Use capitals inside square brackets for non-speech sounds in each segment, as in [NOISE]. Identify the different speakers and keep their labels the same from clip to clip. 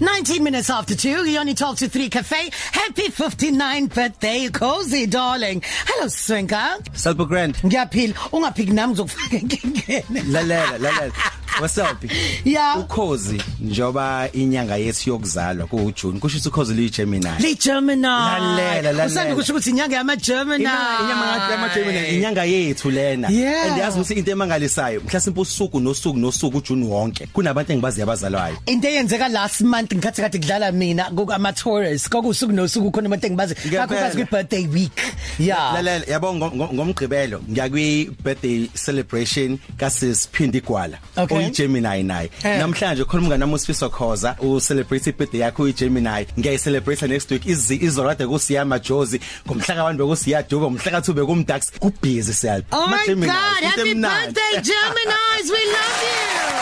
Speaker 1: 19 minutes after 2, you only talk to 3 Cafe. Happy 59th birthday, cozy darling. Hello, Swinka.
Speaker 2: Salpo Grand.
Speaker 1: Ngiyaphila. Ungaphiki nami ngizokufaka enkingeni.
Speaker 2: Lalela, lalela. What's up?
Speaker 1: Yeah.
Speaker 2: Ukhozi njoba inyanga yethu yokuzalwa kuJune. Kusho ukuthi ukhozi liyiGemini.
Speaker 1: Li Gemini.
Speaker 2: Lalela, lalela.
Speaker 1: Usanda kusho ukuthi inyanga yama Gemini.
Speaker 2: Inyanga inyanga yamaGemini inyanga yethu lena.
Speaker 1: Yeah.
Speaker 2: And yazi ukuthi into emangalisayo, mhlasimpe usuku nosuku nosuku uJune wonke. Kunabantu engibazi yabazalwayo.
Speaker 1: Into eyenzeka last month ngikhathi kade kudlala mina kokama Taurus kokusuku nosuku khona abantu engibazi
Speaker 2: Ngempela.
Speaker 1: kakhulukazi kwi birthday week. Yeah.
Speaker 2: Lalela, yabo ngo- ngo- ngomgqibelo ngiyakwi birthday celebration kasisiphindi igwala
Speaker 1: Okay.
Speaker 2: oyiGemini naye.
Speaker 1: Eh.
Speaker 2: Namhlanje khona umngane nami uSifiso Khoza u celebrate birthday yakhe uyiGemini. Ngiyayicelebrate next week izi izorade kusiyama Jozi, ngomhla ka1 bekusiya Duba, ngomhla ka2 bekumdax kubhizi self.
Speaker 1: Oh my god, happy birthday
Speaker 2: [LAUGHS]
Speaker 1: Geminis. We love you.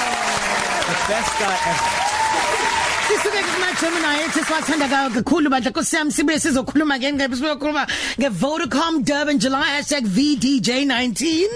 Speaker 2: Best guy ever.
Speaker 1: Sisuke kuma-Gemini ethi siwathanda kakhulu bandla Nkosi yami sibuye sizokhuluma ngenqebe sibuyokhuluma nge-Vodacom Durban July hashtag #VDJ19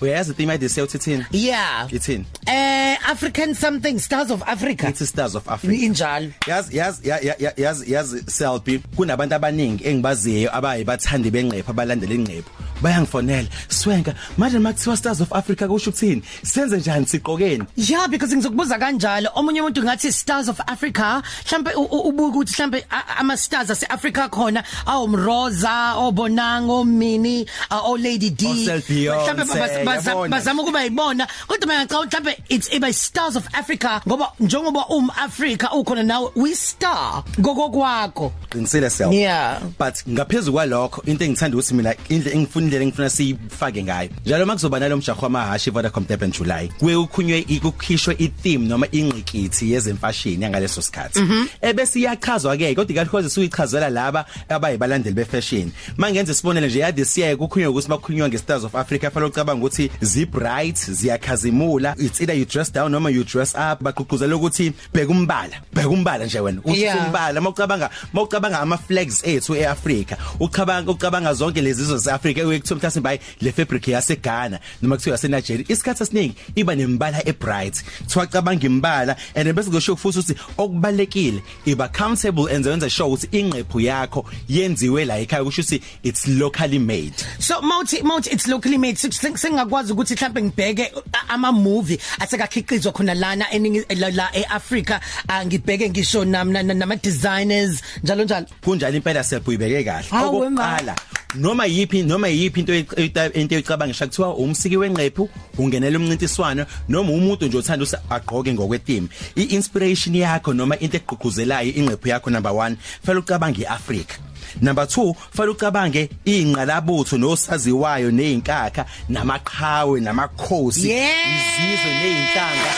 Speaker 2: Uyazi theme
Speaker 1: [LAUGHS]
Speaker 2: idise uthithini?
Speaker 1: yeah
Speaker 2: Ithini?
Speaker 1: eh African something stars of Africa
Speaker 2: It's stars of Africa.
Speaker 1: injalo
Speaker 2: yazi yazi ya- ya- ya- yazi yazi selfie kunabantu abaningi engibaziyo abaye bathandi benqepha abalandela inqepho bayangifonela swenka manje makuthiwa stars of africa kusho ukuthini senze njani siqokeni
Speaker 1: Yeah because ngizokubuza kanjalo omunye umuntu ngathi stars of Africa mhlambe u- u- ubuke ukuthi mhlambe a- ama stars aseAfrica khona awumroza obonango mini o Lady D
Speaker 2: Osel Beyonce,
Speaker 1: Mhlambe bas- bas-
Speaker 2: yabona.
Speaker 1: bazama ukuba yibona kodwa mina ngicabanga ukuthi mhlambe it's iba stars of Africa ngoba njengoba um Africa ukhona nawe we star gogokwakho
Speaker 2: qinisile self
Speaker 1: Yeah.
Speaker 2: but ngaphezulu kwalokho into engithanda ukuthi mina indle engifuna indlela engifuna siyifake ngayo njalo makuzoba nalo mjaho wamahashi Vodacom Durban July kuye ukhunywe ikukhishwe itheme noma ingqikithi yezemfashini yangaleso sikhathi ebese iyachazwa ke kodwa ikalhoze suyichazela laba abayibalandeli befashion mangenze sibonele nje yade siyaye ukukhunywa ukuthi bakhunywa nge-Stars of Africa fanele ucabanga ukuthi zi-bright ziyakhazimula it's either you dress down noma you dress up baqhuquzela ukuthi bheka umbala bheka umbala nje wena uthi
Speaker 1: Yeah.
Speaker 2: umbala mawucabanga mawucabanga ama flags ethu eAfrica ucabanga ucabanga zonke lezi zizwe zeAfrica ekuthiwa mhlawumbe bay le fabric yase Ghana noma kuthiwa yase Nigeria isikhatsi esiningi iba nemibala ebright kuthiwa cabanga imbala and bese kusho futhi ukuthi okubalekile iba comfortable and wenza sure ukuthi ingqephu yakho yenziwe la ekhaya kusho ukuthi it's locally made
Speaker 1: so mawuthi mawuthi it's locally made sing- sing- singakwazi ukuthi mhlambe ngibheke ama movie asekakhicizwa khona lana eningi- la la eAfrica ah, ngibheke ngisho nami na- na- nama designers njalo njalo
Speaker 2: kunjalo impela siyabhuyibeke kahle
Speaker 1: Hawe ma.
Speaker 2: okokuqala noma yipi noma yipi into eyi- eyi- into ecabanga ngisho kuthiwa umsiki wenqephu ungenela umncintiswano noma umuntu nje othanda ukuthi agqoke ngokwetheme iinspiration yakho noma into egqugquzelayo inqephu yakho number 1 fanele ucabange iAfrica Number 2 fanele ucabange ingqalabutho nosaziwayo nezinkakha namaqhawe namakhosi
Speaker 1: Yeah.
Speaker 2: izizwe nezinhlanga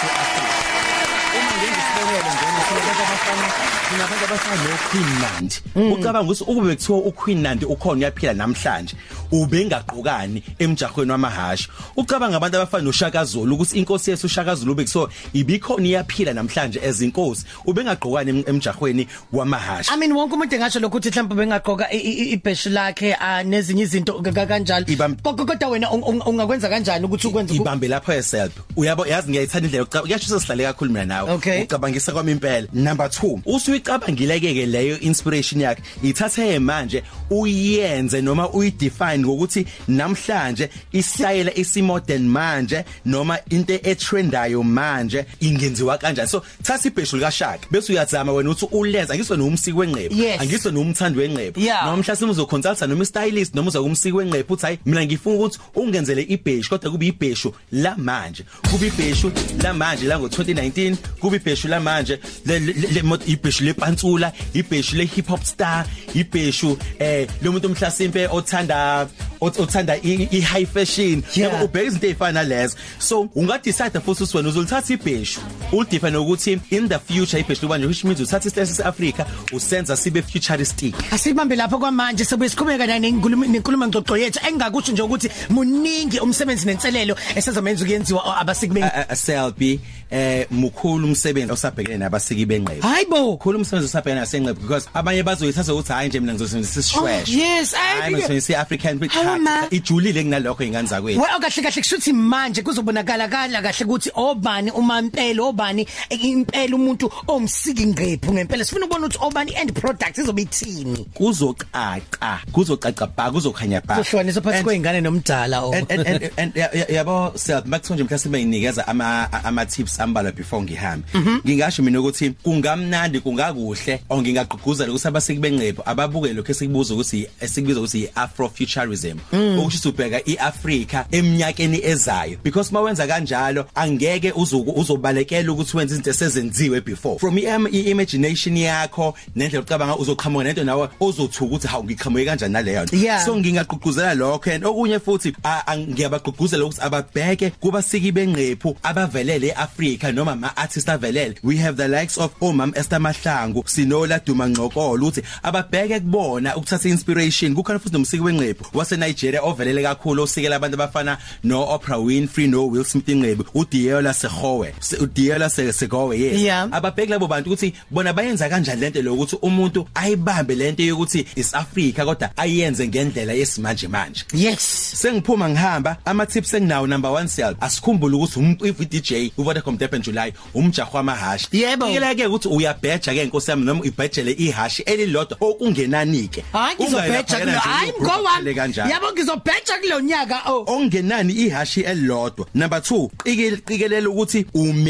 Speaker 2: zase-Afrika uma ngengisibonele njena sinabantu abafana sinabantu abafana noQueen Nandi ucabanga ukuthi ukube kuthiwa uQueen Nandi ukhona uyaphila namhlanje ubengaqokani emjahweni wamahashi ucabanga abantu abafana noShaka Zulu ukuthi inkosi yesu uShaka Zulu bekuthiwa ibikhona iyaphila namhlanje as inkosi ubengaqokani em- emjahweni wamahashi
Speaker 1: I mean wonke umuntu engasho lokho ukuthi mhlambe bengaqoka ibheshi lakhe ah, nezinye izinto ka- ka- kanjalo
Speaker 2: Ibam-
Speaker 1: Ko- ko- kodwa wena un- un- ungakwenza kanjani ukuthi ukwenze uku-
Speaker 2: ibambe lapho yourself uyabo yazi ngiyayithanda indlela yokucabanga kuyashisa sihlale kakhulu mina nawe
Speaker 1: Okay.
Speaker 2: ucabangisa kwami impela number 2 usuyicabangileke ke leyo inspiration yakhe ithathe manje uyenze noma uyidefine ngokuthi namhlanje isayela isimodern manje noma into etrendayo manje ingenziwa kanjani so thatha ibheshu likashaka bese uyazama wena uthi ulenza ngisho nomsiki wenqepho
Speaker 1: Yes.
Speaker 2: angisho nomthandi wenqepho
Speaker 1: Yeah.
Speaker 2: noma mhlawumbe uzoconsulta noma stylist noma uza kumsiki wenqepho uthi hayi mina ngifuna ukuthi ungenzele ibheshu kodwa kube ibheshu la manje kube ibheshu la manje la ngo2019 kube ibheshu la manje le le- le- le- ibheshu lepantsula ibheshu le hip hop star ibheshu eh lo muntu mhlasimpe othanda ot- othanda i i- high fashion
Speaker 1: Yeah.
Speaker 2: Yabo, ubheka izinto ezifana lezo so ungadecide futhi ukuthi wena uzolithatha ibheshu ulidefine ukuthi in the future ibheshu libanje which means uthatha isitesi seAfrica usenza sibe futuristic
Speaker 1: Asibambe lapho kwamanje sobuye siqhubeka nayo nenkulumo nenkulumo ngixoxo yethu engakusho nje ukuthi muningi umsebenzi nenselelo esezomenza ukuyenziwa o- abasikubeni
Speaker 2: a- a- a selfie eh mukhulu umsebenzi osabhekene nabasiki benqebe
Speaker 1: Hayibo
Speaker 2: khulu umsebenzi osabhekene nasenqebe because abanye bazoyithatha ukuthi hayi nje mina ngizosebenzisa
Speaker 1: Oh,
Speaker 2: isishweshe
Speaker 1: yes, I
Speaker 2: hayi
Speaker 1: agree.
Speaker 2: ngisebenzisa iAfrican
Speaker 1: Hawe Mama.
Speaker 2: ijulile kunalokho ingane zakwethu
Speaker 1: Well kahle kahle kushuthi manje kuzobonakala kala kahle ukuthi obani uma impela obani impela umuntu omsiki ngqephu ngempela sifuna ukubona ukuthi obani end product izobe ithini
Speaker 2: kuzocaca kuzocaca bha kuzokhanya bha
Speaker 1: kuhlonisa phakathi
Speaker 2: And-
Speaker 1: kweingane nomdala o
Speaker 2: and and and, and ya- ya- yabo self makuthi nje mhlawumbe nginikeza ama ama tips ambalwa before ngihambe ngingasho mina ukuthi kungamnandi kungakuhle or ngingaqhuguzela ukuthi abaseki benqepho ababuke lokho esikubuza ukuthi esikubiza ukuthi afrofuturism okusho ubheka iAfrica eminyakeni ezayo because mawenza kanjalo angeke uzuku uzobalekela ukuthi wenze izinto esezenziwe before from i- i imagination yakho nendlela ucabanga uzoqhamuka nento nawe ozothuka ukuthi hawu ngiqhamuke kanjani naleyo nto.
Speaker 1: Yeah.
Speaker 2: so ngingaqhuquzela lokho and okunye futhi a- a- ngiyabaqhuquzela ukuthi ababheke kubasiki benqephu abavelele eAfrica noma ama artists avelele we have the likes of omam Esther Mahlangu Sinola Duma Ngqokolo uthi ababheke kubona ukuthatha inspiration kukhona futhi nomsiki wenqephu wase Nigeria ovelele kakhulu osikela abantu abafana no Oprah Winfrey no Will Smith inqephu uDiyola Segowe Se- uDiyola Se- Segowe yes
Speaker 1: Yeah.
Speaker 2: ababheki labo bantu ukuthi bona bayenza kanjani lento lokuthi umuntu ayibambe lento yokuthi is Africa kodwa ayenze ngendlela yesimanje manje
Speaker 1: yes
Speaker 2: sengiphuma ngihamba ama tips enginawo number 1 self asikhumbule ukuthi umcivi DJ uVodacom Depend July umjaho wamahashi
Speaker 1: Yebo.
Speaker 2: ke ukuthi uyabheja ke inkosi yami noma ibhejele ihashi elilodwa okungenanike
Speaker 1: hayi ngizobheja kulo hayi go one yabo ngizobheja kulonyaka
Speaker 2: Oh,
Speaker 1: o
Speaker 2: ongenani ihashi elilodwa number 2 qikelela ukuthi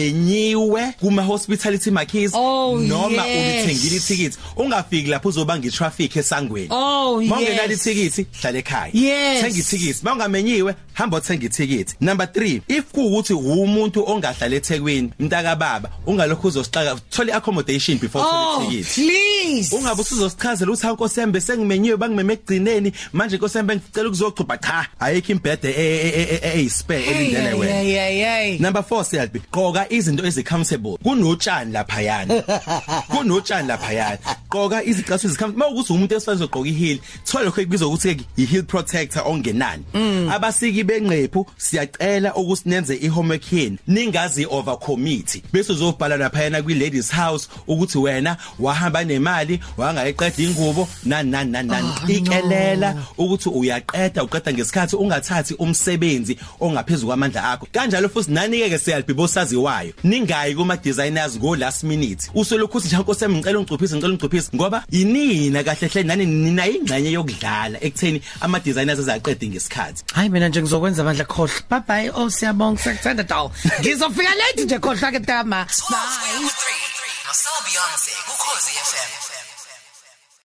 Speaker 2: umenyiwe kuma hospitality markets
Speaker 1: Oh,
Speaker 2: noma
Speaker 1: yes.
Speaker 2: ulithengile ithikithi ungafiki lapho uzobanga itraffic esangweni
Speaker 1: Oh,
Speaker 2: mawungenali
Speaker 1: yes.
Speaker 2: ithikithi hlala ekhaya
Speaker 1: Yes.
Speaker 2: thenga ithikithi mawungamenyiwe hamba uthenga ithikithi number 3 if kuukuthi umuntu ongahlala eThekwini mntaka baba ungalokho uzosixaka thola accommodation before
Speaker 1: oh
Speaker 2: uthola ithikithi
Speaker 1: please
Speaker 2: ungabe usuzosichazela ukuthi hankosi yami besengimenyiwe bangimeme ekugcineni manje inkosi yami bengicela ukuzogcuba cha ayikho imbhede e, eyispare elindele wena
Speaker 1: yeah
Speaker 2: Number 4 Selby qoka izinto ezicomfortable kunotshani laphayana kunotshani laphayana qoka izicathulo ezicomfortable mawukuthi umuntu esifanele uzoqoka iheel thola lokho ekubizwa ukuthi iheel protector ongenani abasiki benqephu siyacela ukusinenze ihomework yenu ningazi overcommit bese uzobhala laphayana kwi ladies house ukuthi wena wahamba nemali wangayiqeda ingubo nani nani nani nani. ikelela ukuthi uyaqeda uqeda ngesikhathi ungathathi umsebenzi ongaphezulu kwamandla akho kanjalo futhi nanike ke siyalibhibo saziwayo ningayi kuma designers go last minute usolokhu uthi nje nkosi yami ngicela ungcuphise ngicela ungcuphise ngoba inina kahle hle nani nina ingcenye yokudlala ekutheni ama designers azaqeda ngesikhathi
Speaker 1: hayi mina nje ngizokwenza bandla khohle bye bye oh siyabonga sakuthanda daw ngizofika late nje khohle ke tama bye
Speaker 3: Bye. Nosobeyonce, Ukhozi FM.